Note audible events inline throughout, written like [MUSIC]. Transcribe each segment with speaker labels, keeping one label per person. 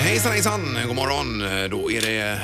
Speaker 1: hejsan, god morgon. Då är det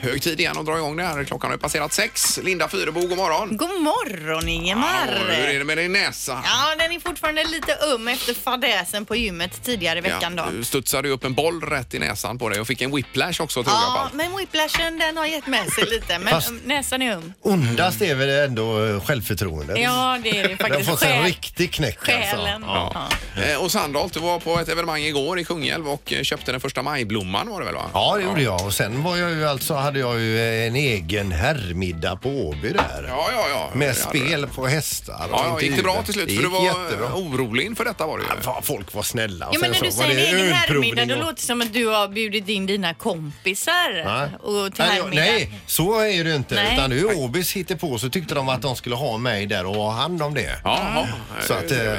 Speaker 1: hög tid igen att dra igång det här. Klockan har passerat sex. Linda Fyrebo, god morgon.
Speaker 2: God morgon Ingemar!
Speaker 1: Hallå, hur är det med din näsa?
Speaker 2: Ja, den är fortfarande lite um efter fadäsen på gymmet tidigare i veckan då.
Speaker 1: du studsade ju upp en boll rätt i näsan på dig och fick en whiplash också tror jag.
Speaker 2: Ja,
Speaker 1: Pall.
Speaker 2: men whiplashen den har gett med sig lite, men
Speaker 3: Fast-
Speaker 2: um, näsan är um.
Speaker 3: Ondast är väl ändå eh, självförtroendet.
Speaker 2: Ja, det är det
Speaker 3: Den har
Speaker 2: faktiskt.
Speaker 3: fått sig en riktig knäck
Speaker 2: själen.
Speaker 3: alltså.
Speaker 2: Ja.
Speaker 1: Eh, Och Sandholt, du var på ett evenemang igår i Kungälv och eh, köpte den första majblomman var det väl va?
Speaker 3: Ja, det gjorde jag. Och sen var jag ju alltså, hade jag ju en egen herrmiddag på Åby där.
Speaker 1: Ja, ja, ja. Det
Speaker 3: Med
Speaker 1: hade du.
Speaker 3: spel på hästar och
Speaker 1: Ja, ja, gick det bra
Speaker 3: intervjuer.
Speaker 1: till slut?
Speaker 3: Det
Speaker 1: För du
Speaker 3: gick
Speaker 1: var
Speaker 3: jättebra.
Speaker 1: orolig inför detta var det ju.
Speaker 3: Ja, fan, Folk var snälla. Och
Speaker 2: Ja, men när
Speaker 3: sen
Speaker 2: du
Speaker 3: så var
Speaker 2: säger en
Speaker 3: det
Speaker 2: egen
Speaker 3: ölprovning
Speaker 2: herrmiddag då
Speaker 3: och-
Speaker 2: låter det som att du har bjudit in dina kompisar
Speaker 3: Nej.
Speaker 2: och till
Speaker 3: Nej, jag-
Speaker 2: herrmiddag.
Speaker 3: nej, så är det ju inte.
Speaker 2: Nej.
Speaker 3: Utan nu Åbys på så tyckte de att de skulle ha mig där och ha hand om det.
Speaker 1: Ja,
Speaker 3: Så att, eh, ja.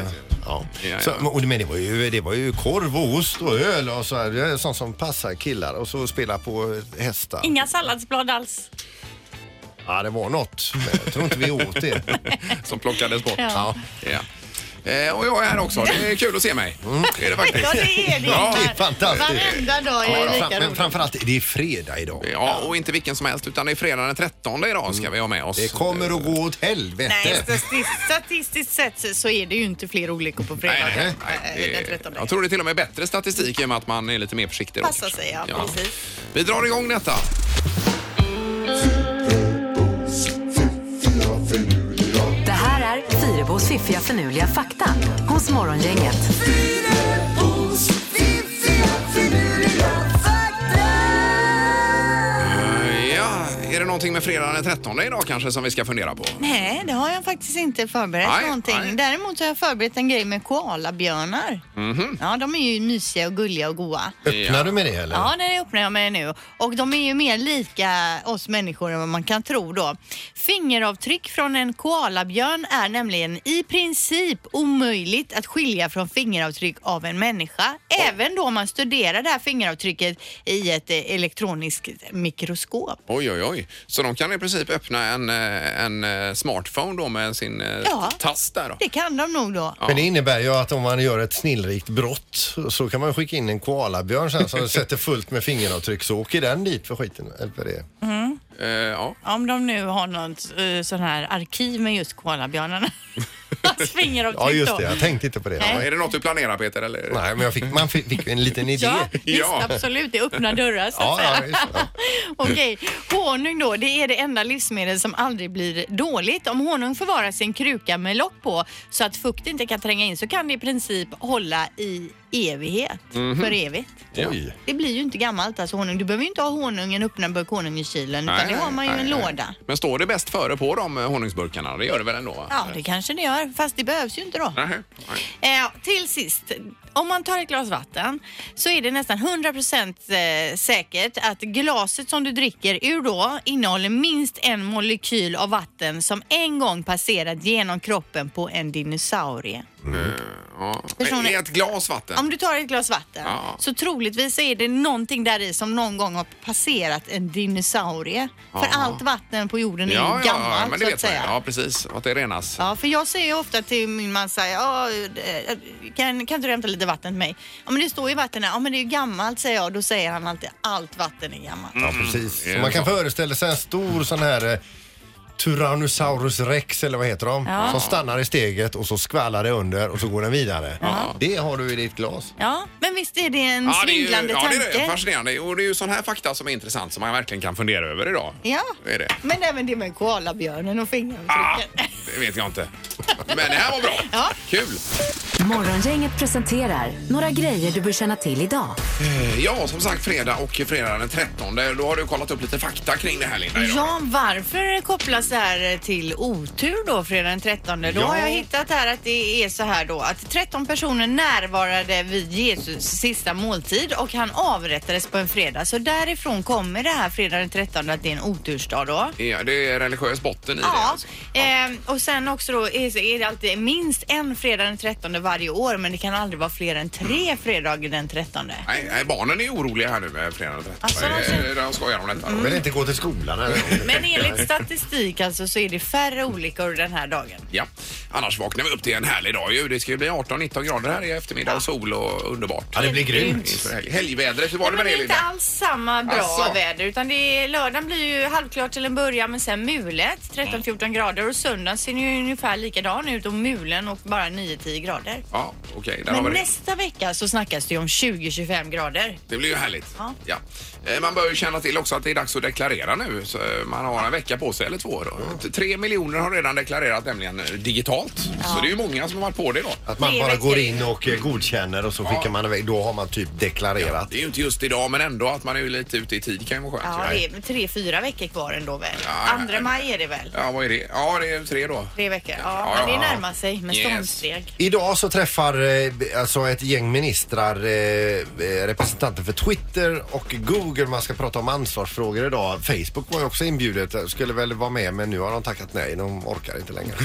Speaker 1: Ja,
Speaker 3: Så,
Speaker 1: ja.
Speaker 3: men- och det- men det var, ju, det var ju korv och ost och öl och så här, det är sånt som passar killar och så spela på hästar.
Speaker 2: Inga salladsblad alls.
Speaker 3: Ja, det var något. Men jag tror inte vi åt
Speaker 2: [LAUGHS]
Speaker 3: det.
Speaker 1: Som plockades bort.
Speaker 2: Ja.
Speaker 1: Ja. Eh, Och jag är här också. Det är kul att se mig.
Speaker 3: Mm.
Speaker 1: Det är det faktiskt.
Speaker 2: Ja, det är det
Speaker 1: Ja,
Speaker 3: det är
Speaker 2: Ingmar.
Speaker 3: fantastiskt.
Speaker 2: Varenda dag är det
Speaker 3: Ja,
Speaker 2: lika
Speaker 3: fram, men
Speaker 2: roligt.
Speaker 3: framförallt, det är fredag idag.
Speaker 1: Ja, och inte vilken som helst utan det är fredag den 13 idag ska vi ha med oss.
Speaker 3: Mm. Det kommer att gå åt helvete.
Speaker 2: Nej, statistiskt, statistiskt sett så är det ju inte fler olyckor på fredag.
Speaker 1: Nej, nej,
Speaker 2: Eh,
Speaker 1: nej.
Speaker 2: den
Speaker 1: Det,
Speaker 2: 13.
Speaker 1: jag tror det är till och med bättre statistik i och med att man är lite mer försiktig. då.
Speaker 2: Passar sig, ja, precis.
Speaker 1: Vi drar igång detta.
Speaker 4: Det här är Fyrabos fiffiga förnuliga fakta hos Morgongänget.
Speaker 1: Eh, Ja, är det någonting med fredag den 13 idag kanske som vi ska fundera på?
Speaker 2: Nej, det har jag faktiskt inte förberett
Speaker 1: Nej,
Speaker 2: någonting.
Speaker 1: nej.
Speaker 2: Däremot har jag förberett en grej med koalabjörnar.
Speaker 1: Mhm.
Speaker 2: Ja, de är ju mysiga och gulliga och goa.
Speaker 3: Öppnar du med det eller?
Speaker 2: Ja, det öppnar jag mig nu. Och de är ju mer lika oss människor än vad man kan tro då. Fingeravtryck från en koalabjörn är nämligen i princip omöjligt att skilja från fingeravtryck av en människa. Även då om man studerar det här fingeravtrycket i ett eh, elektroniskt mikroskop.
Speaker 1: Oj, oj, oj. Så de kan i princip öppna en, eh, en eh, smartphone då med sin eh,
Speaker 2: Ja.
Speaker 1: tass där då?
Speaker 2: Det kan de nog då.
Speaker 3: Men det innebär ju att om man gör ett snillrikt brott så kan man skicka in en koalabjörn sen
Speaker 2: [LAUGHS]
Speaker 3: som sätter fullt med fingeravtryck så åker den dit för skiten. eller För det.
Speaker 2: Mm.
Speaker 1: Eh, ja.
Speaker 2: Om de nu har något eh, sån här arkiv med just [LAUGHS] koalabjörnarna. Hans fingeravtryck
Speaker 3: Ja just det,
Speaker 2: då.
Speaker 3: jag tänkte inte på det.
Speaker 1: Är det något du planerar Peter? Eller?
Speaker 3: Nej, men jag fick, man fick, fick ju en liten idé.
Speaker 2: [LAUGHS] Ja, visst,
Speaker 1: Ja.
Speaker 2: absolut. Det öppnar dörrar så att
Speaker 3: Ja, ja,
Speaker 2: säga.
Speaker 3: visst, ja.
Speaker 2: [LAUGHS] Okej, honung då, det är det enda livsmedel som aldrig blir dåligt. Om honung förvaras i en kruka med lock på så att fukt inte kan tränga in så kan det i princip hålla i evighet, för evigt.
Speaker 3: Oj.
Speaker 2: Det blir ju inte gammalt alltså honung. Du behöver ju inte ha honungen, öppna en burk honung i kylen utan
Speaker 1: Nej,
Speaker 2: det har man ju i
Speaker 1: nej,
Speaker 2: en
Speaker 1: nej.
Speaker 2: låda.
Speaker 1: Men står det bäst före på de eh, honungsburkarna? Det gör det väl ändå? va?
Speaker 2: Ja, det kanske det gör, fast det behövs ju inte då.
Speaker 1: Nej, nej.
Speaker 2: Eh, till sist, om man tar ett glas vatten så är det nästan 100% eh, säkert att glaset som du dricker ur då innehåller minst en molekyl av vatten som en gång passerat genom kroppen på en dinosaurie.
Speaker 1: Mm.
Speaker 2: Mm.
Speaker 1: Ja.
Speaker 2: Personer-
Speaker 1: I ett glas vatten?
Speaker 2: Om du tar ett glas vatten
Speaker 1: Ja.
Speaker 2: så troligtvis är det någonting där i som någon gång har passerat en dinosaurie. För allt vatten på jorden är ju gammalt
Speaker 1: men det
Speaker 2: så
Speaker 1: vet
Speaker 2: att säga.
Speaker 1: Man. ju. Ja, precis. Att det renas.
Speaker 2: Ja, för jag säger ju ofta till min man så här, "Ja, eh, kan, kan inte du hämta lite vatten till mig? Ja, men det står ju vatten här. Ja, men det är ju gammalt säger jag. Då säger han alltid, allt vatten är gammalt.
Speaker 3: Ja, precis.
Speaker 1: Mm,
Speaker 3: Så man kan
Speaker 1: så.
Speaker 3: föreställa sig en stor sån här eh, Tyrannosaurus rex eller vad heter de?
Speaker 2: Ja.
Speaker 3: Som stannar i steget och så skvallar det under och så går den vidare. Det har du i ditt glas.
Speaker 2: Ja, men visst är det en
Speaker 1: Ja, det är ju,
Speaker 2: svindlande
Speaker 1: ja,
Speaker 2: tanke?
Speaker 1: det är fascinerande. Och det är ju sån här fakta som är intressant som man verkligen kan fundera över idag.
Speaker 2: Ja,
Speaker 1: Det är det.
Speaker 2: men även det med koalabjörnen och
Speaker 1: Ah,
Speaker 2: [LAUGHS] fingeravtrycken.
Speaker 1: det vet jag inte. Men det här var bra.
Speaker 2: [LAUGHS] Ja.
Speaker 1: Kul.
Speaker 4: Morgongänget presenterar några grejer du bör känna till idag.
Speaker 1: Eh, Ja, som sagt fredag och fredag den 13. Då har du kollat upp lite fakta kring det här Linda. idag.
Speaker 2: Ja, varför kopplas det här till otur då fredag den 13? Då
Speaker 3: Ja.
Speaker 2: har jag hittat här att det är så här då att 13 personer närvarade vid Jesus sista måltid och han avrättades på en fredag. Så därifrån kommer det här fredag den 13 att det är en otursdag då.
Speaker 1: Ja, det är religiös botten i det.
Speaker 2: Ja,
Speaker 1: alltså.
Speaker 2: ehm, och sen också då är, är det alltid minst en fredag den 13 varje år men det kan aldrig vara fler än tre fredagar den 13.
Speaker 1: Nej, nej, barnen är oroliga här nu med fredag den
Speaker 2: Alltså, Mm.
Speaker 1: 13. Eh, De skojar om detta.
Speaker 3: Vill inte gå till skolan eller?
Speaker 2: [LAUGHS] Men enligt statistik alltså så är det färre olyckor den här dagen.
Speaker 1: Ja, annars vaknar vi upp till en härlig dag ju. Det ska ju bli 18-19 grader här i eftermiddag och sol och underbart.
Speaker 3: Ja, det blir grymt.
Speaker 1: Inför helg- Helgvädret, hur var det
Speaker 2: Nej,
Speaker 1: med
Speaker 2: men det
Speaker 1: det
Speaker 2: är inte
Speaker 1: Linda?
Speaker 2: alls samma bra
Speaker 1: Asså.
Speaker 2: väder utan det är, lördagen blir ju halvklart till en början men sen mulet 13-14 grader och söndagen ser ju ungefär likadan ut och mulen och bara 9-10 grader.
Speaker 1: Ja, okej. där har vi
Speaker 2: Men
Speaker 1: det.
Speaker 2: nästa vecka så snackas det ju om 20-25 grader.
Speaker 1: Det blir ju härligt. Ja.
Speaker 2: Ja.
Speaker 1: Eh, Man bör ju känna till också att det är dags att deklarera nu. Så eh, man har en vecka på sig eller två. Då. Tre miljoner har redan deklarerat nämligen eh, digitalt. Så det är ju många som har varit på det då.
Speaker 3: Att man
Speaker 2: Tre
Speaker 3: bara
Speaker 2: veckor.
Speaker 3: går in och eh, godkänner och så skickar man iväg. Då har man typ deklarerat.
Speaker 1: Det är ju inte just idag men ändå att man är ju lite ute i tid kan ju vara skönt.
Speaker 2: Ja,
Speaker 1: ju.
Speaker 2: det är 3-4 veckor kvar ändå väl.
Speaker 1: Ja, ja,
Speaker 2: Andra
Speaker 1: ja.
Speaker 2: maj är det väl?
Speaker 1: ja, vad är det? Ja, det är tre då.
Speaker 2: Tre veckor. Ja,
Speaker 1: Ja,
Speaker 2: men
Speaker 1: ja,
Speaker 2: det
Speaker 1: ja.
Speaker 2: närmar sig med
Speaker 1: Yes.
Speaker 2: stormsteg.
Speaker 3: Idag så träffar eh, alltså ett gäng ministrar eh, eh, representanter för Twitter och Google. Man ska prata om ansvarsfrågor idag. Facebook var ju också inbjudet, skulle väl vara med men nu har de tackat nej. De orkar inte längre.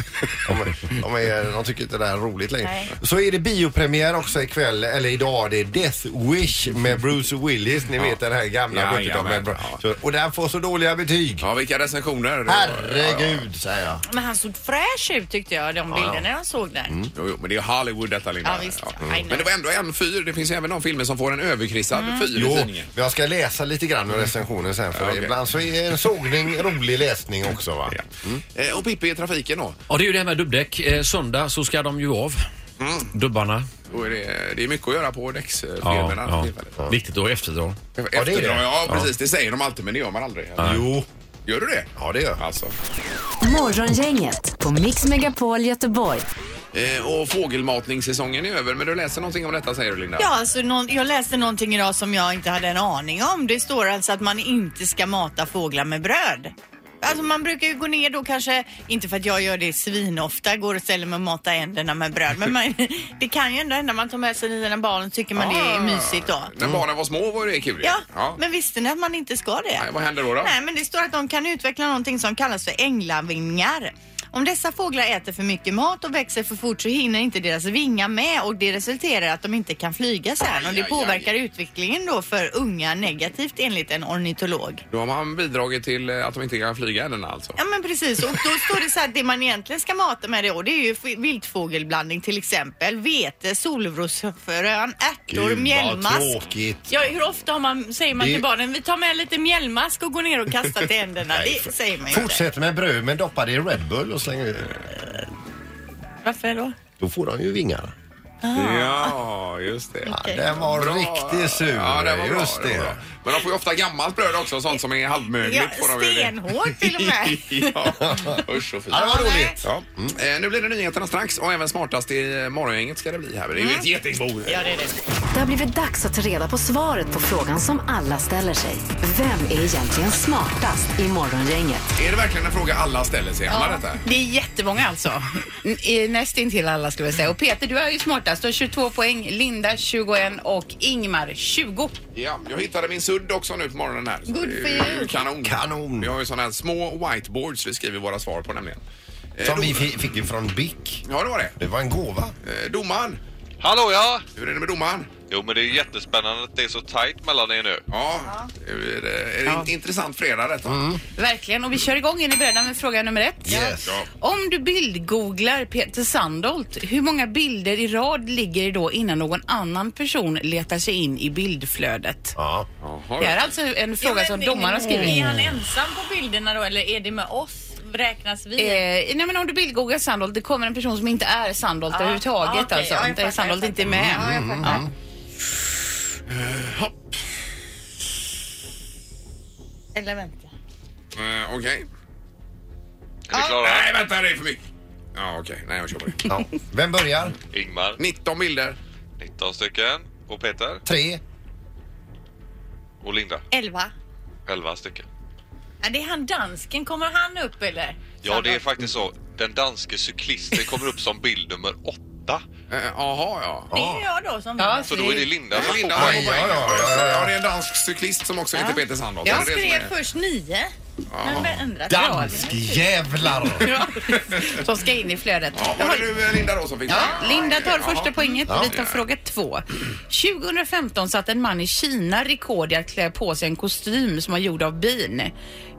Speaker 3: De, de, är, de tycker inte det här är roligt längre.
Speaker 2: Nej.
Speaker 3: Så är det biopremiär också ikväll, eller idag. Det är Death Wish med Bruce Willis. Ni vet den här gamla
Speaker 1: Ja,
Speaker 3: 70-talet.
Speaker 1: jajamän, ja.
Speaker 3: Så- Och den får så dåliga betyg.
Speaker 1: Ja, vilka recensioner.
Speaker 3: Herregud säger jag.
Speaker 2: Men han såg fräsch ut tyckte jag, de bilderna jag såg där.
Speaker 1: Jo, jo, men det är ju Hollywood detta Linda.
Speaker 2: Ja, visst. I know. Mm.
Speaker 1: Men det var ändå en fyr. Det finns ju även de filmer som får en överkryssad fyr i
Speaker 3: Jo,
Speaker 1: tidningen.
Speaker 3: men jag ska läsa lite grann ur recensionen sen för
Speaker 1: Ja, okej.
Speaker 3: ibland så är en sågning rolig läsning också va.
Speaker 1: Ja. Eh, Och Pippi i trafiken då?
Speaker 5: Ja, det är ju det här med dubbdäck. Eh, söndag så ska de ju av. Dubbarna.
Speaker 1: Då är det, det är mycket att göra på
Speaker 5: Ja,
Speaker 1: däcksfilmerna.
Speaker 5: ja. Viktigt att efterdra.
Speaker 1: Efterdra,
Speaker 3: det är det.
Speaker 1: ja precis. Det säger de alltid men det gör man aldrig.
Speaker 3: Jo,
Speaker 1: Gör du det?
Speaker 3: ja det gör jag.
Speaker 1: Alltså.
Speaker 4: Morgongänget på Mix Megapol Göteborg.
Speaker 1: Eh, och fågelmatningssäsongen är över men du läser någonting om detta säger du Linda?
Speaker 2: Ja, alltså, någon, jag läste någonting idag som jag inte hade en aning om. Det står alltså att man inte ska mata fåglar med bröd. Alltså man brukar ju gå ner då kanske, inte för att jag gör det svinofta, går och ställer mig och matar änderna med bröd. Men man, [LAUGHS] det kan ju ändå hända, man tar med sig dina barn och tycker man det är mysigt då.
Speaker 1: När barnen var små var det kul ju.
Speaker 2: Ja,
Speaker 1: Ah. ja.
Speaker 2: men visste ni att man inte ska det?
Speaker 1: Nej, vad händer då? då?
Speaker 2: Nej, men det står att de kan utveckla någonting som kallas för änglavingar. Om dessa fåglar äter för mycket mat och växer för fort så hinner inte deras vingar med och det resulterar i att de inte kan flyga sen och
Speaker 1: Aj,
Speaker 2: det
Speaker 1: aj,
Speaker 2: påverkar utvecklingen då för unga negativt enligt en ornitolog.
Speaker 1: Då har man bidragit till eh, att de inte kan flyga ännu alltså.
Speaker 2: Ja men precis och då står det så här att det man egentligen ska mata med det och det är ju f- viltfågelblandning till exempel vete, solrosfrön, ärtor, mjällmask.
Speaker 3: tråkigt.
Speaker 2: Ja, hur ofta har man, säger man
Speaker 3: Det-
Speaker 2: till barnen vi tar med lite mjällmask och går ner och
Speaker 1: [LAUGHS]
Speaker 2: kastar till änderna? Det säger man ju inte.
Speaker 3: Fortsätt med bröd men doppa det i Red Bull och släng ut.
Speaker 2: Varför då?
Speaker 3: Då får de ju vingar.
Speaker 1: Ja, just det.
Speaker 3: Ja, den var riktigt sur.
Speaker 1: Ja, det var bra,
Speaker 3: Just
Speaker 1: det. Var bra. Men de får ju ofta gammalt bröd också, sånt som är halvmögligt.
Speaker 2: Ja,
Speaker 1: får de ju det.
Speaker 2: stenhårt till och med.
Speaker 1: [LAUGHS] ja, usch och fy.
Speaker 3: Ja, det var roligt.
Speaker 1: Ja. Mm. Eh, nu blir det nyheterna strax och även smartast i eh, morgongänget ska det bli här. Det är ju ett getingbo.
Speaker 2: Mm. Ja, det är det.
Speaker 4: Det har blivit dags att ta reda på svaret på frågan som alla ställer sig. Vem är egentligen smartast i morgongänget?
Speaker 1: Är det verkligen en fråga alla ställer sig? Anna, detta?
Speaker 6: Det är jättemånga alltså. N- eh, Nästintill alla skulle jag säga. Och Peter, du är ju smartast. Du har 22 poäng, Linda 21 och Ingmar 20.
Speaker 1: Ja, jag hittade min sudd också nu på morgonen här. Så
Speaker 6: Good
Speaker 1: det är
Speaker 6: for
Speaker 1: ju
Speaker 6: you.
Speaker 1: Kanon.
Speaker 3: Kanon.
Speaker 1: Vi har ju sådana här små whiteboards vi skriver våra svar på nämligen. Eh,
Speaker 3: Som
Speaker 1: dom-
Speaker 3: vi fi- fick ju från Bick.
Speaker 1: Ja, det var det.
Speaker 3: Det var en gåva.
Speaker 1: Eh, domaren.
Speaker 7: Hallå ja!
Speaker 1: Hur är det med domaren?
Speaker 7: Jo men det är jättespännande att det är så tajt mellan er nu.
Speaker 1: Ja, det är det är det inte intressant fredag detta?
Speaker 3: Mm.
Speaker 6: Verkligen. Och vi kör igång. Är ni beredda med fråga nummer ett?
Speaker 3: Yes.
Speaker 1: Ja.
Speaker 6: Om du bildgooglar Peter Sandholt, hur många bilder i rad ligger det då innan någon annan person letar sig in i bildflödet?
Speaker 3: Ja.
Speaker 6: Det är alltså en fråga som domaren har skrivit.
Speaker 2: Är han ensam på bilderna då eller är det med oss? Räknas vi?
Speaker 6: Eh, nej men om du bildgooglar Sandholt, det kommer en person som inte är Sandholt överhuvudtaget
Speaker 2: ja, Ah, okej.
Speaker 6: alltså.
Speaker 2: Ja, jag
Speaker 6: inte
Speaker 2: fattar,
Speaker 6: Sandholt
Speaker 2: jag
Speaker 6: inte är med. Mm, Ja.
Speaker 1: Hopp.
Speaker 2: Eller vänta.
Speaker 1: Eh, Okej.
Speaker 7: Är ni klara?
Speaker 1: Nej, vänta, det är för mycket. Ja, okej. Nej, jag kör på det. [LAUGHS]
Speaker 3: ja. Vem börjar?
Speaker 7: Ingmar,
Speaker 1: 19 bilder.
Speaker 7: 19 stycken. Och Peter
Speaker 3: Tre.
Speaker 7: och Linda,
Speaker 2: Elva.
Speaker 7: 11 stycken.
Speaker 2: Ja, det är han dansken. Kommer han upp eller?
Speaker 7: Ja det är faktiskt så. Den danske [LAUGHS] cyklisten kommer upp som bild nummer 8.
Speaker 1: Eh, Jaha, ja.
Speaker 2: Det är jag då som
Speaker 6: Ja,
Speaker 7: Så då är det Linda
Speaker 1: Ja,
Speaker 7: som
Speaker 1: Linda
Speaker 7: får
Speaker 1: har
Speaker 3: Aj,
Speaker 1: poäng.
Speaker 3: ja, ja, ja, ja.
Speaker 1: Ja, det är en dansk cyklist som också heter Peter Sandholt.
Speaker 2: Jag
Speaker 1: Det är det som
Speaker 2: skrev
Speaker 1: är-
Speaker 2: först nio.
Speaker 6: Men det ändrar
Speaker 3: Danskjävlar!
Speaker 1: [LAUGHS]
Speaker 6: [LAUGHS] Som ska in i flödet.
Speaker 1: Ja, var det nu eh, Linda då som fick
Speaker 6: Ja,
Speaker 1: poäng?
Speaker 6: Linda tar första
Speaker 1: Ja.
Speaker 6: poänget.
Speaker 3: Ja.
Speaker 6: Vi tar fråga två. 2015 satte en man i Kina rekord i att klä på sig en kostym som var gjord av bin.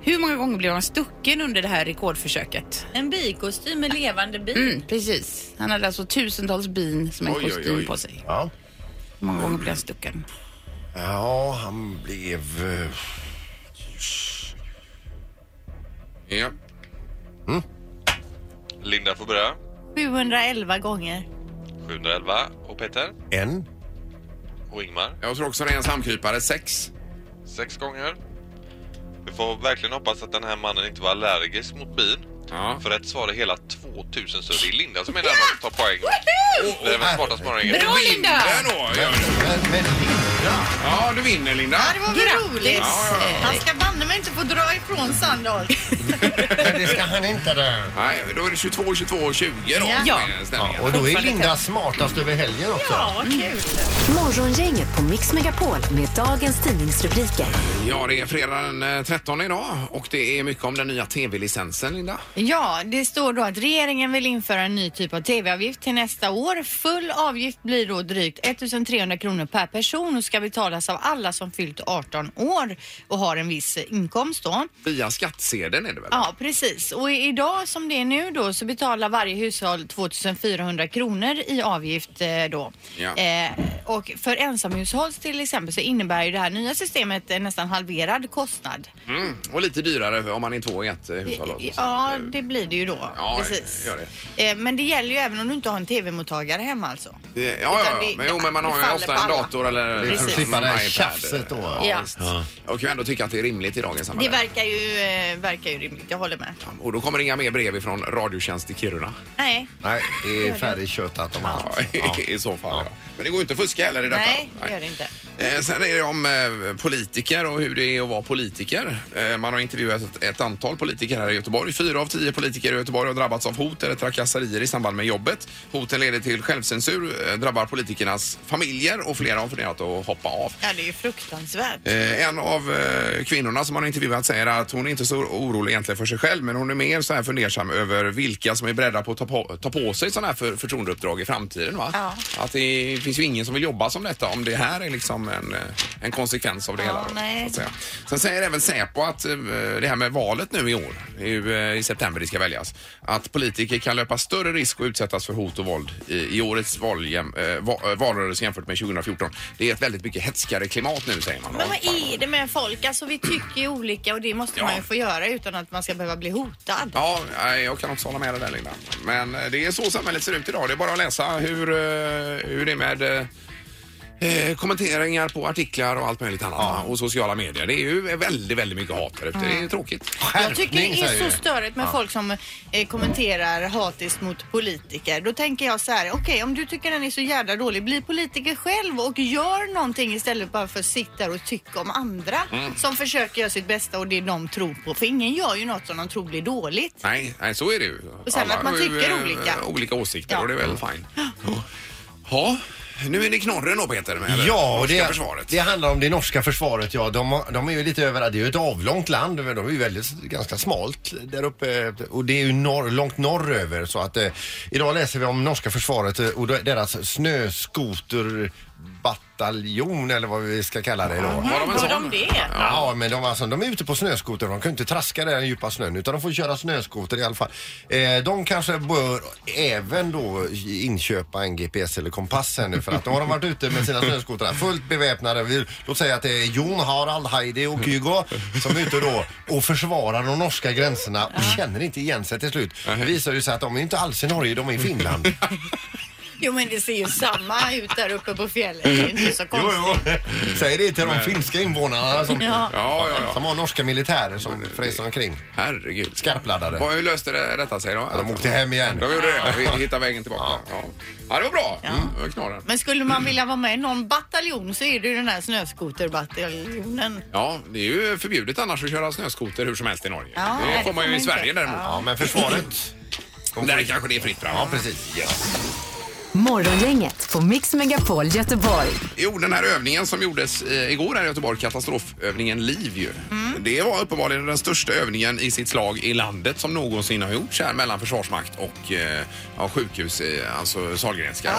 Speaker 6: Hur många gånger blev han stucken under det här rekordförsöket?
Speaker 8: En bikostym med levande bi.
Speaker 6: Mm, precis. Han hade alltså tusentals bin som en
Speaker 1: Oj, oj,
Speaker 6: kostym
Speaker 1: oj.
Speaker 6: på sig.
Speaker 3: Ja.
Speaker 6: Hur många gånger blev han stucken?
Speaker 3: ja, han blev... eh,
Speaker 1: Ja.
Speaker 7: Linda får börja.
Speaker 2: 711 gånger.
Speaker 7: 711. Och Peter?
Speaker 3: En.
Speaker 7: Och Ingmar?
Speaker 1: Jag tror också det är en slamkrypare. Sex.
Speaker 7: Sex gånger. Vi får verkligen hoppas att den här mannen inte var allergisk mot bin.
Speaker 1: Ja.
Speaker 7: För rätt svar är hela 2000 så det är Linda som är närmast att ta poäng. Det är väl smartast morgongänget.
Speaker 6: Bra Linda!
Speaker 1: Där då, gör du.
Speaker 3: Men, men Linda!
Speaker 1: Ja, du vinner Linda.
Speaker 2: Ja, det var väl roligt. Han ska banne mig inte få dra ifrån Sandholt.
Speaker 3: Men det ska han inte där.
Speaker 1: Nej, då är det 22, 22, 20 då.
Speaker 2: Ja.
Speaker 1: som är ställningen.
Speaker 3: Och då är Linda smartast över helgen också.
Speaker 4: Morgongänget på Mix Megapol med dagens tidningsrubriker.
Speaker 1: Ja, det är fredag den eh, 13 idag och det är mycket om den nya tv-licensen, Linda.
Speaker 2: Ja, det står då att regeringen vill införa en ny typ av tv-avgift till nästa år. Full avgift blir då drygt 1300 kronor per person och ska betalas av alla som fyllt 18 år och har en viss inkomst då.
Speaker 1: Via skattsedeln är det väl?
Speaker 2: Ja, precis. Och i- idag som det är nu då så betalar varje hushåll 2400 kronor i avgift eh, då.
Speaker 1: Ja.
Speaker 2: Eh, och för ensamhushåll till exempel så innebär ju det här nya systemet eh, nästan halverad kostnad.
Speaker 1: Mm. Och lite dyrare om man är två i ett eh, hushåll. också.
Speaker 2: Ja, det blir det ju då.
Speaker 1: Ja,
Speaker 2: precis.
Speaker 1: gör
Speaker 2: Eh, Men det gäller ju även om du inte har en tv-mottagare hemma alltså.
Speaker 1: Det- Ja, ja,
Speaker 2: Utan
Speaker 1: ja.
Speaker 2: det-
Speaker 1: Men, jo, men man har
Speaker 2: det
Speaker 1: ju
Speaker 2: faller
Speaker 1: ofta
Speaker 2: på
Speaker 1: en
Speaker 2: alla.
Speaker 1: dator eller liksom
Speaker 3: Det är för att
Speaker 2: Precis.
Speaker 3: slippa det här
Speaker 1: en iPad.
Speaker 3: tjafset då. va?
Speaker 2: Ja.
Speaker 1: visst. Jag kan ju ändå tycka att det är rimligt i dagens
Speaker 2: Det
Speaker 1: samhälle.
Speaker 2: verkar ju, eh, verkar ju rimligt, jag håller med.
Speaker 1: Och då kommer det inga mer brev ifrån Radiotjänst i Kiruna.
Speaker 2: Nej.
Speaker 3: Nej, det är färdigköttat om allt.
Speaker 1: Ja. [LAUGHS] I så fall. Ja. Men det går ju inte att fuska heller i detta.
Speaker 2: Nej, det gör det inte.
Speaker 1: Eh, Sen är det om eh, politiker och hur det är att vara politiker. Eh, man har intervjuat ett, ett antal politiker här i Göteborg. Fyra av tio politiker i Göteborg har drabbats av hot eller trakasserier i samband med jobbet. Hoten leder till självcensur, eh, drabbar politikernas familjer och flera har funderat att hoppa av.
Speaker 2: Ja, det är ju fruktansvärt.
Speaker 1: Eh, En av eh, kvinnorna som man har intervjuat säger att hon är inte så orolig egentligen för sig själv men hon är mer så här fundersam över vilka som är beredda på att ta på, ta på sig sådana här för, förtroendeuppdrag i framtiden. Va?
Speaker 2: Ja.
Speaker 1: Att det finns ju ingen som vill jobba som detta om det här är liksom en, eh, en konsekvens av det
Speaker 2: Ja,
Speaker 1: hela. Då,
Speaker 2: nej.
Speaker 1: så att säga. Sen säger även Säpo att eh, det här med valet nu i år, det är ju, eh, i september det ska väljas, att politiker kan löpa större risk att utsättas för hot och våld i, i årets valjäm, eh, va, eh, valrörelse jämfört med 2014. Det är ett väldigt mycket hetskare klimat nu säger man.
Speaker 2: Men vad är det med folk? Alltså vi tycker ju olika och det måste
Speaker 1: Ja.
Speaker 2: man ju få göra utan att man ska behöva bli hotad.
Speaker 1: Ja, nej, jag kan också hålla med dig där Linda. Men eh, det är så samhället ser ut idag. Det är bara att läsa hur, eh, hur det är med eh, eh, kommenteringar på artiklar och allt möjligt annat. va? Och sociala medier. Det är ju väldigt, väldigt mycket hat där ute. Det är ju tråkigt.
Speaker 2: Jag tycker det
Speaker 3: säger
Speaker 2: är
Speaker 3: vi.
Speaker 2: så störigt med folk som eh, kommenterar hatiskt mot politiker. Då tänker jag så här, okej om du tycker den är så jävla dålig, bli politiker själv och gör någonting istället bara för att sitta där och tycka om andra
Speaker 3: Mm.
Speaker 2: som försöker göra sitt bästa och det de tror på. För ingen gör ju något som de tror blir dåligt.
Speaker 1: Nej, nej så är det ju.
Speaker 2: Och sen
Speaker 1: Alla
Speaker 2: att man
Speaker 1: har ju,
Speaker 2: tycker
Speaker 1: eh,
Speaker 2: olika.
Speaker 1: Olika åsikter
Speaker 2: Ja.
Speaker 1: och det är väl fine. Ja, nu är det knorren då Peter med det
Speaker 3: Ja, och
Speaker 1: norska
Speaker 3: det,
Speaker 1: försvaret.
Speaker 3: det handlar om det norska försvaret. Ja, de, har- de är ju lite över, det är ju ett avlångt land, men de är ju väldigt, ganska smalt där uppe och det är ju norr, långt norröver. Så att eh, idag läser vi om norska försvaret eh, och deras snöskoterbataljon eller vad vi ska kalla det idag.
Speaker 1: Var de en
Speaker 2: Vad
Speaker 1: sån?
Speaker 2: de det?
Speaker 3: Ja, men de, var alltså, de är ute på snöskoter. De kan ju inte traska där i den djupa snön utan de får köra snöskoter i alla fall. Eh, de kanske bör även då inköpa en GPS eller kompass här nu för att då har de varit ute med sina snöskotrar fullt beväpnade. Vi, låt säga att det är Jon Harald, Heidi och Kygo som är ute då och försvarar de norska gränserna och känner inte igen sig till slut. Det visar ju sig att de är inte alls i Norge, de är i Finland.
Speaker 2: Jo men det ser ju samma ut där uppe på fjället. Det är inte så
Speaker 3: [LAUGHS] Jo,
Speaker 2: konstigt.
Speaker 3: jo. Säg det till de finska invånarna som,
Speaker 2: Ja.
Speaker 1: Ja, ja, ja.
Speaker 3: som har norska militärer som fräser omkring.
Speaker 1: Herregud.
Speaker 3: Skarpladdade.
Speaker 1: Vad- Hur löste det, detta sig då?
Speaker 3: de åkte hem igen.
Speaker 1: De gjorde det, vi hittade vägen tillbaka. Ja, ja det var bra. Mm. det var Knorren.
Speaker 2: Men skulle man vilja vara med i någon bataljon så är det ju den här snöskoterbataljonen.
Speaker 1: Ja, det är ju förbjudet annars att köra snöskoter hur som helst i Norge.
Speaker 2: Ja,
Speaker 1: det får man ju i Sverige
Speaker 2: inte.
Speaker 1: däremot.
Speaker 3: Ja, men försvaret.
Speaker 1: Där kanske det är fritt fram.
Speaker 3: Ja, precis. Yes.
Speaker 4: Morgongänget på Mix Megapol Göteborg.
Speaker 1: Jo, den här övningen som gjordes eh, igår här i Göteborg, katastrofövningen LIV ju. Det var uppenbarligen den största övningen i sitt slag i landet som någonsin har gjorts här mellan försvarsmakt och eh, ja, sjukhus, eh, alltså Sahlgrenska.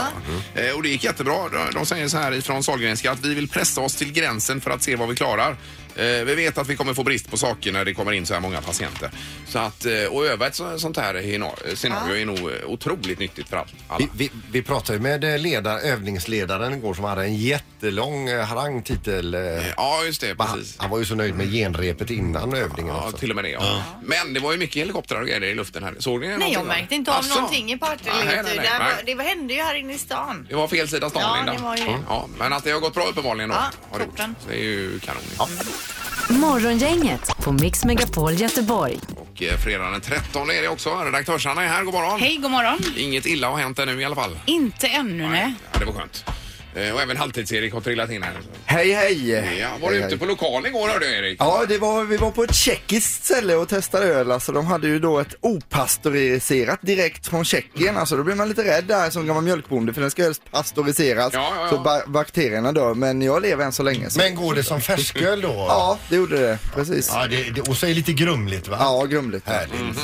Speaker 1: då. Eh, och det gick jättebra. De- De säger så här ifrån Sahlgrenska att vi vill pressa oss till gränsen för att se vad vi klarar. Eh, vi vet att vi kommer få brist på saker när det kommer in så här många patienter. Så att eh, och öva ett så- sånt här hena- scenario är nog eh, otroligt nyttigt för all- alla.
Speaker 3: Vi, vi, vi pratade ju med eh, ledar, övningsledaren igår som hade en jättelång eh, harang titel. eh,
Speaker 1: Ja, just det.
Speaker 3: men han,
Speaker 1: Precis.
Speaker 3: han var ju så nöjd med genrepet innan övningen
Speaker 1: Ja,
Speaker 9: Alltså.
Speaker 3: också.
Speaker 1: till och med det. Ja. Men det var ju mycket helikoptrar och grejer i luften här. Såg ni
Speaker 2: Nej,
Speaker 1: någonting
Speaker 2: jag
Speaker 1: då?
Speaker 2: märkte inte av
Speaker 1: Asså?
Speaker 2: någonting i
Speaker 1: Nej, nej,
Speaker 2: partylivet.
Speaker 1: nej,
Speaker 2: Det,
Speaker 1: nej.
Speaker 2: var- det var- hände ju här inne i stan.
Speaker 1: Det var fel sida stan,
Speaker 2: Ja,
Speaker 1: Linda.
Speaker 2: det var ju det.
Speaker 1: Mm. Ja, men att det har gått bra uppenbarligen då.
Speaker 2: Ja,
Speaker 1: har det
Speaker 2: toppen.
Speaker 1: gjort. Så det är ju kanon.
Speaker 4: Morgongänget på Mix Megapol Göteborg.
Speaker 1: Och eh, fredagen den 13 är det också. Redaktörs-Anna är här. God morgon.
Speaker 6: Hej, god morgon.
Speaker 1: Inget illa har hänt ännu i alla fall.
Speaker 6: Inte ännu, nej.
Speaker 1: Ja, det var skönt. Eh, Och även Halvtids-Erik har trillat in här.
Speaker 9: Hej hej!
Speaker 1: Ja, var du ute på lokal igår hörde jag Erik?
Speaker 9: Ja, det var, vi var på ett tjeckiskt ställe och testade öl. Alltså, de hade ju då ett opastöriserat direkt från Tjeckien. Alltså, då blir man lite rädd där som gammal mjölkbonde för den ska helst pastöriseras.
Speaker 1: Ja, ja, ja.
Speaker 9: Så ba- bakterierna dör, men jag lever än så länge. Så.
Speaker 3: Men går det som färsköl då?
Speaker 9: Ja, det gjorde det. Precis.
Speaker 3: ja det, det, och så är det lite grumligt va?
Speaker 9: Ja, grumligt.
Speaker 3: Härligt.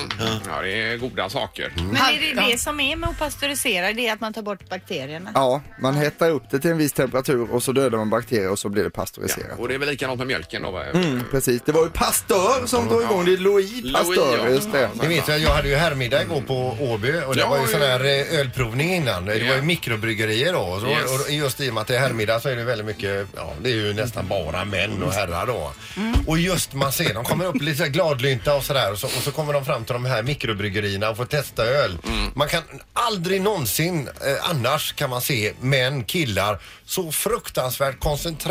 Speaker 1: Ja, det är goda saker.
Speaker 9: Mm.
Speaker 2: Men är det det som är med att pastörisera? Det är att man tar bort bakterierna.
Speaker 9: Ja, man hettar upp det till en viss temperatur och så dödar man bakterier och så blir det pastöriserat.
Speaker 1: Och det är väl likadant med mjölken då? va?
Speaker 9: Mm, precis. Det var ju Pasteur som drog igång det. Louis Pasteur,
Speaker 1: ja.
Speaker 9: just det.
Speaker 3: Ni vet ju att jag hade ju herrmiddag igår på Åby och det
Speaker 1: Ja,
Speaker 3: var ju
Speaker 1: ja.
Speaker 3: sån här eh, ölprovning innan. Det
Speaker 1: Ja.
Speaker 3: var ju mikrobryggerier då. Och, så,
Speaker 1: Yes.
Speaker 3: och just i och med att det är herrmiddag så är det väldigt mycket, ja det är ju nästan bara män och herrar då.
Speaker 1: Mm.
Speaker 3: Och just man ser, de kommer upp lite så här gladlynta och sådär och så, och så kommer de fram till de här mikrobryggerierna och får testa öl.
Speaker 1: Mm.
Speaker 3: Man kan aldrig någonsin eh, annars kan man se män, killar så fruktansvärt koncentrerade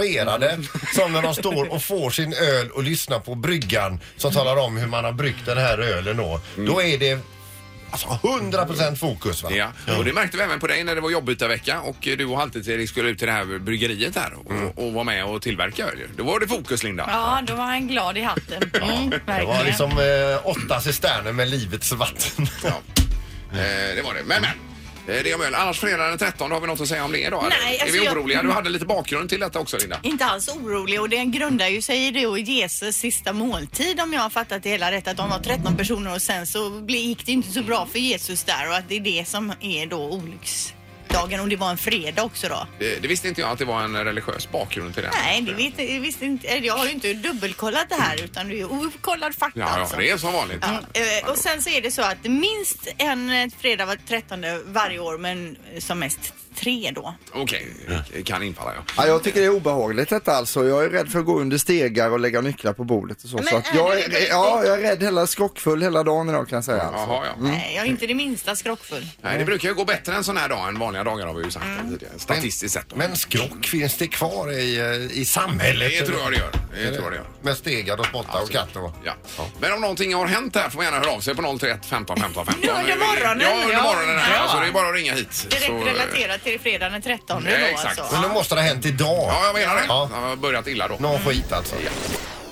Speaker 1: Mm. [LAUGHS]
Speaker 3: som när de står och får sin öl och lyssnar på bryggan som
Speaker 1: Mm.
Speaker 3: talar om hur man har bryggt den här ölen då. Då är det Alltså 100% fokus va?
Speaker 1: Ja, och det märkte vi även på dig när det var jobbytarvecka och eh, du och Halvtids-Erik skulle ut till det här bryggeriet här och, och vara med och tillverka öl ju. Då var det fokus Linda.
Speaker 6: Ja, då var han glad i hatten. Mm,
Speaker 3: Det
Speaker 6: verkligen.
Speaker 3: var liksom eh, åtta cisterner med livets vatten.
Speaker 1: Ja. Eh, det var det. Men, men. eh, Det om öl. Annars fredag den 13, har vi något att säga om det idag? eller?
Speaker 2: Nej,
Speaker 1: är
Speaker 2: alltså
Speaker 1: vi
Speaker 2: jag-
Speaker 1: oroliga? Du hade lite bakgrund till detta också Linda.
Speaker 2: Inte alls orolig och den grundar ju sig i då Jesus sista måltid om jag har fattat det hela rätt. Att de var 13 personer och sen så ble- gick det inte så bra för Jesus där och att det är det som är då olycksdagen och det var en fredag också då.
Speaker 1: Det, det visste inte jag att det var en religiös bakgrund till den.
Speaker 2: Nej, det vet, jag visste inte. eller Jag har ju inte dubbelkollat det här utan det är ju okollad fakta
Speaker 1: Ja, ja,
Speaker 2: alltså.
Speaker 1: det är som vanligt.
Speaker 2: Ja, eh, och sen så är det så att minst en eh, fredag var 13 varje år men eh, som mest tre då.
Speaker 1: Okej, kan infalla ja.
Speaker 9: Ja, jag tycker det är obehagligt detta alltså. Jag är rädd för att gå under stegar och lägga nycklar på bordet och så.
Speaker 2: Men
Speaker 9: så att
Speaker 2: är
Speaker 9: jag,
Speaker 2: du det på
Speaker 9: är, ja, jag är rädd hela skrockfull hela dagen idag kan jag säga. Alltså.
Speaker 1: Jaha, ja.
Speaker 2: Nej, Eh, jag är inte det minsta skrockfull.
Speaker 1: Nej, det brukar ju gå bättre en sån här dag än vanliga dagar har vi ju sagt
Speaker 2: Mm.
Speaker 1: tidigare. Statistiskt sett. då.
Speaker 3: Men skrock finns det kvar i, eh, i samhället.
Speaker 1: Det tror jag det gör. Det tror jag det gör.
Speaker 3: Med stegar och spottar och katter och...
Speaker 1: Ja. Men om någonting har hänt här får man gärna höra av sig på 031 15 15 15.
Speaker 2: Nu under
Speaker 1: är vi-
Speaker 2: morgonen,
Speaker 1: Ja, under
Speaker 2: ja.
Speaker 1: morgonen. här.
Speaker 2: Ja.
Speaker 1: Alltså, det är bara att ringa hit.
Speaker 2: Direkt
Speaker 1: Så, eh,
Speaker 2: relaterat till fredagen den 13
Speaker 1: Ja,
Speaker 2: då
Speaker 1: exakt.
Speaker 2: alltså.
Speaker 3: Men då måste det ha hänt idag.
Speaker 1: Ja, jag menar det.
Speaker 3: Ja.
Speaker 1: Han har börjat illa då.
Speaker 3: Någon skit alltså.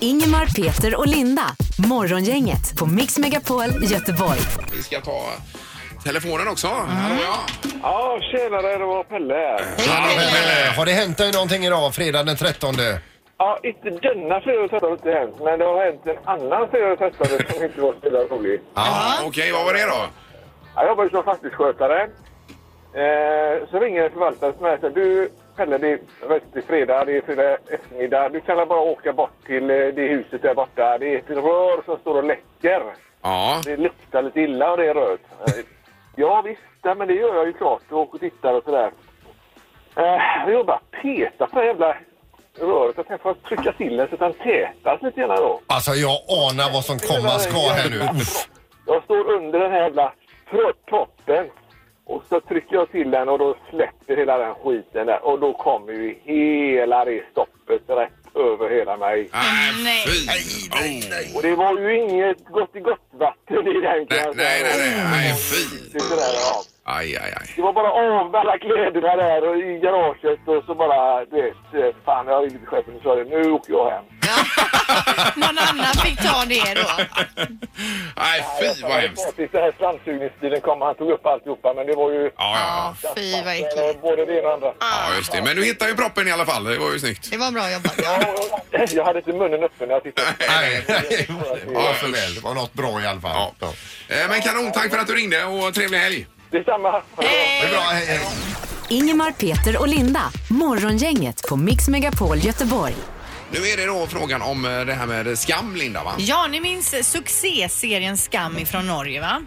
Speaker 4: Ingemar, Peter och Linda. Morgongänget på Mix Megapol Göteborg.
Speaker 1: Vi ska ta telefonen också.
Speaker 2: Mm.
Speaker 1: Hallå, ja.
Speaker 10: Ja, tjenare, det var Pelle här.
Speaker 3: Hallå, Pelle. eh, Har det hänt dig någonting idag, fredag den 13?
Speaker 10: Ja, inte denna fredag testade inte hänt, men det har hänt en annan fredag testade som inte var så jävla rolig.
Speaker 1: Ah, Okej, vad var det då?
Speaker 10: Jag jobbar ju som fastighetsskötare. Eh, så ringer en förvaltare som säger du Pelle, det är röstig fredag, det är fredag eftermiddag. Du kan väl bara åka bort till eh, det huset där borta. Det är ett rör som står och läcker.
Speaker 1: Ja,
Speaker 10: Det luktar lite illa och det är röd. Ja visst, nej, men det gör jag ju klart. Jag åker och tittar och sådär. Eh, Jag bara petar på det här jävla röret. Jag tänkte att trycka till den så att den tätas lite grann då.
Speaker 3: Alltså jag anar vad som komma ska här nu. Uff.
Speaker 10: Jag står under den här jävla tro- toppen. Och så trycker jag till den och då släpper hela den skiten där. Och då kommer ju hela det stoppet rätt över hela mig.
Speaker 1: nej, fy. Oh.
Speaker 10: Och det var ju inget gott i gott vatten i den kan
Speaker 1: Nej,
Speaker 10: jag
Speaker 1: nej,
Speaker 10: säga.
Speaker 1: nej, nej, nej, fy.
Speaker 10: Det är sådär, ja.
Speaker 1: Aj, aj, aj.
Speaker 8: Typ Det var bara av med alla kläderna där och i garaget och så bara, du vet, eh, fan jag har ringde till chefen och sa det, nu åker jag hem.
Speaker 2: Någon annan fick ta det då. Ah,
Speaker 1: Nej, fy vad hemskt.
Speaker 8: Precis, den här slamsugningsbilen kom, han tog upp alltihopa men det var ju...
Speaker 1: Ja,
Speaker 2: Ja, fy Ah. vad äckligt.
Speaker 8: Eh, Både det ena och andra.
Speaker 1: ja, just det. Men du hittade ju proppen i alla fall. Det var ju snyggt.
Speaker 2: Det var bra jobbat.
Speaker 8: Jag hade inte munnen öppen när jag tittade.
Speaker 1: Nej, nej.
Speaker 3: Ja, för väl. Det var något bra i alla fall. Ja.
Speaker 1: Eh, Men kanon, tack för att du ringde och trevlig helg.
Speaker 8: Detsamma.
Speaker 2: Eh,
Speaker 3: Det är bra. Hej, hej.
Speaker 4: Ingemar, Peter och Linda. Morgongänget på Mix Megapol Göteborg.
Speaker 1: Nu är det då frågan om eh, det här med skam, Linda, va?
Speaker 2: Ja, ni minns succéserien Skam ifrån Norge va?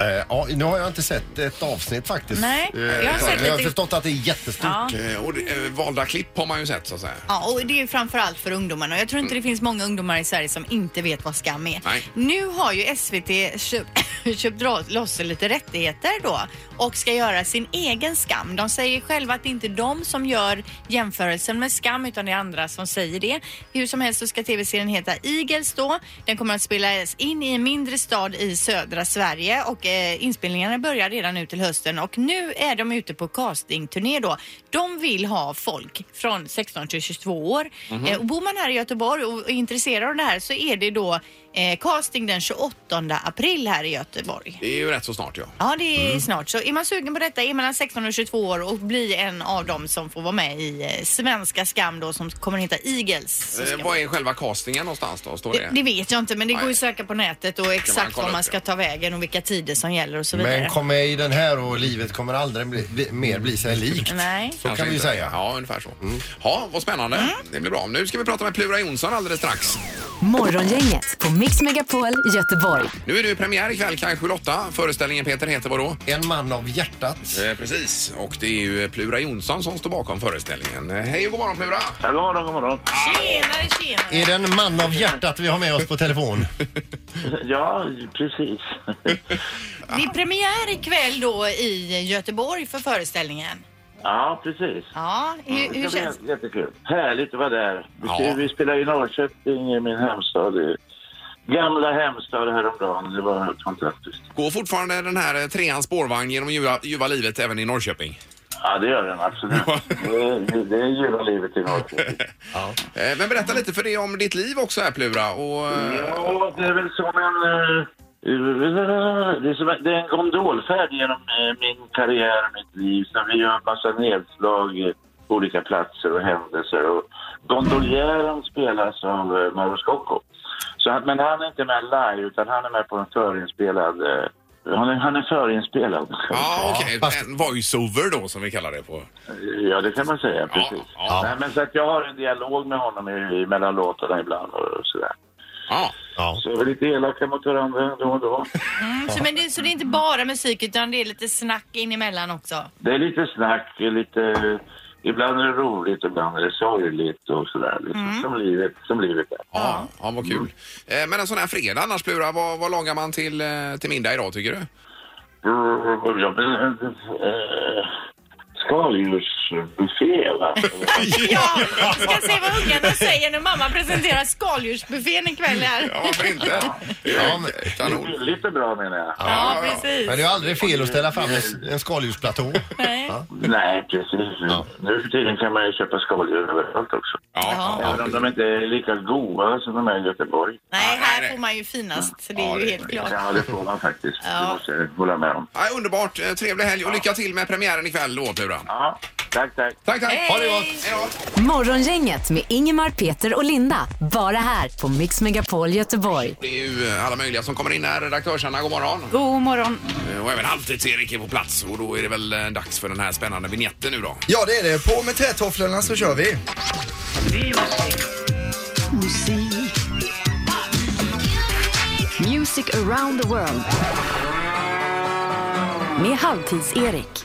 Speaker 3: Eh, ja, nu har jag inte sett ett avsnitt faktiskt.
Speaker 2: Nej,
Speaker 3: Eh,
Speaker 2: jag har
Speaker 3: men
Speaker 2: sett
Speaker 3: jag har
Speaker 2: lite-
Speaker 3: förstått att det är jättestort.
Speaker 2: Ja.
Speaker 1: Eh, Och det- eh, valda klipp har man ju sett, så att säga.
Speaker 2: Ja, och det är ju framförallt för ungdomarna. Och Jag tror inte det finns många ungdomar i Sverige som inte vet vad skam är.
Speaker 1: Mm. Nej.
Speaker 2: Nu har ju SVT köpt, [COUGHS] köpt dra- loss lite rättigheter då och ska göra sin egen skam. De säger själva att det inte är de som gör jämförelsen med skam utan det är andra som säger det. Hur som helst så ska tv-serien heta Igels då. Den kommer att spelas in i en mindre stad i södra Sverige och eh, inspelningarna börjar redan nu till hösten och nu är de ute på castingturné då. De vill ha folk från 16 till 22 år. eh, och bor man här i Göteborg och är intresserad av det här så är det då eh, casting den 28 april här i Göteborg.
Speaker 1: Det är ju rätt så snart, ja.
Speaker 2: Ja, det
Speaker 1: Mm.
Speaker 2: är snart. Så är man sugen på detta, är mellan 16 och 22 år och blir en av dem som får vara med i eh, Svenska Skam då som kommer heta Eagles. Så ska
Speaker 1: Eh, Vad är själva castingen någonstans då? Står
Speaker 2: det,
Speaker 1: det?
Speaker 2: det vet jag inte, men det går ju
Speaker 1: Nej.
Speaker 2: att söka på nätet och exakt
Speaker 1: kolla
Speaker 2: var man
Speaker 1: upp,
Speaker 2: ska
Speaker 1: ja.
Speaker 2: ta vägen och vilka tider som gäller och så vidare.
Speaker 3: Men kom med i den här och livet kommer aldrig bli, bli, mer bli sig likt.
Speaker 2: Nej.
Speaker 3: Så
Speaker 1: Kanske
Speaker 3: kan vi
Speaker 1: inte.
Speaker 3: säga.
Speaker 1: Ja, ungefär så. Ja, vad spännande. Det blir bra. Nu ska vi prata med Plura Jonsson alldeles strax.
Speaker 4: Morgongänget på Mix Megapol Göteborg.
Speaker 1: Nu är det ju premiär ikväll, kanske Lotta. Föreställningen Peter heter vadå?
Speaker 3: En man av hjärtat.
Speaker 1: Eh, precis, och det är ju eh, Plura Jonsson som står bakom föreställningen. Eh, Hej och god morgon Plura!
Speaker 8: God morgon, god morgon.
Speaker 2: Tjenare, tjenare!
Speaker 3: Är det en man av hjärtat vi har med oss på telefon?
Speaker 8: Ja, precis. [LAUGHS]
Speaker 2: Det är premiär ikväll då i Göteborg för föreställningen.
Speaker 8: Ja, precis.
Speaker 2: Ja,
Speaker 8: Mm,
Speaker 2: hur, hur känns det?
Speaker 8: Jättekul. Härligt att vara där. Vi,
Speaker 1: Ja.
Speaker 8: ska- vi spelade i Norrköping, i min hemstad. i Gamla hemstad häromdagen. Det var helt fantastiskt.
Speaker 1: Går fortfarande den här eh, trean spårvagn genom ljuva, ljuva livet även i Norrköping?
Speaker 8: Ja, det gör den absolut.
Speaker 1: Ja.
Speaker 8: Det, det är ljuva livet i Norrköping.
Speaker 1: Eh, men berätta lite för det om ditt liv också här Plura. Och, eh,
Speaker 8: Ja, det är väl som en... eh, Det är, som, en- det är en gondolfärd genom eh, min karriär och mitt liv. Så vi gör massa nedslag eh, på olika platser och händelser. Och gondoljären spelas av eh, Mauro Scocco. Så, han- men han är inte med live, utan han är med på en förinspelad... eh, Han är, han är förinspelad.
Speaker 1: ja, okej.
Speaker 3: fast-
Speaker 1: En voiceover då som vi kallar det på.
Speaker 8: [LAUGHS] Ja, det kan man säga. Precis.
Speaker 1: ja.
Speaker 8: Nej, men så att jag har en dialog med honom i, i mellan låtarna ibland och sådär.
Speaker 1: Ja.
Speaker 3: Ja.
Speaker 8: Så vi är lite elaka mot varandra då och då.
Speaker 2: Mm, så, men det, så det är inte bara musik utan det är lite snack in emellan också?
Speaker 8: Det är lite snack, det är lite... Ibland är det roligt, ibland är det sorgligt och sådär. Lite Som livet, som livet är.
Speaker 1: Ja, ja, vad kul. Eh, Men en sån här fredag annars Plura, vad, vad lagar man till, eh, till middag idag tycker du?
Speaker 8: Brr, Ja, men, äh, skaldjursbuffé, va?
Speaker 2: Ja, jag ska se vad ungarna säger när mamma presenterar skaldjursbuffén ikväll här.
Speaker 1: Ja, varför inte? Ja, men, kanon.
Speaker 8: Lite bra, menar jag.
Speaker 2: Ja,
Speaker 3: Men
Speaker 2: precis.
Speaker 3: det är ju aldrig fel att ställa fram en- en skaldjursplatå.
Speaker 2: Nej.
Speaker 8: Nej, precis. Nu för tiden kan man ju köpa skaldjur överallt också.
Speaker 1: Ja,
Speaker 8: Även om de inte är lika goda som de är i Göteborg.
Speaker 2: Nej, här
Speaker 1: nej.
Speaker 2: får man ju finast. Så det
Speaker 1: Ja,
Speaker 2: är ju
Speaker 1: det-
Speaker 2: helt klart.
Speaker 8: Ja, det får man faktiskt.
Speaker 2: Ja.
Speaker 8: Det måste jag hålla med om.
Speaker 1: Ja, underbart. Eh, Trevlig helg och lycka till med premiären ikväll då, Plura.
Speaker 8: Ja, tack, tack.
Speaker 1: Tack, tack.
Speaker 2: Hej.
Speaker 1: Ha det gott. Hej då.
Speaker 4: Morgongänget med Ingemar, Peter och Linda. Bara här på Mix Megapol Göteborg.
Speaker 1: Det är ju eh, alla möjliga som kommer in här. Redaktörsarna, god morgon.
Speaker 11: God morgon.
Speaker 1: Eh, Och även Halvtids-Erik är på plats och då är det väl eh, dags för den här spännande vignetten nu då.
Speaker 12: Ja, det är det. På med trätofflorna så kör vi.
Speaker 4: Music around the world. Med Halvtids-Erik.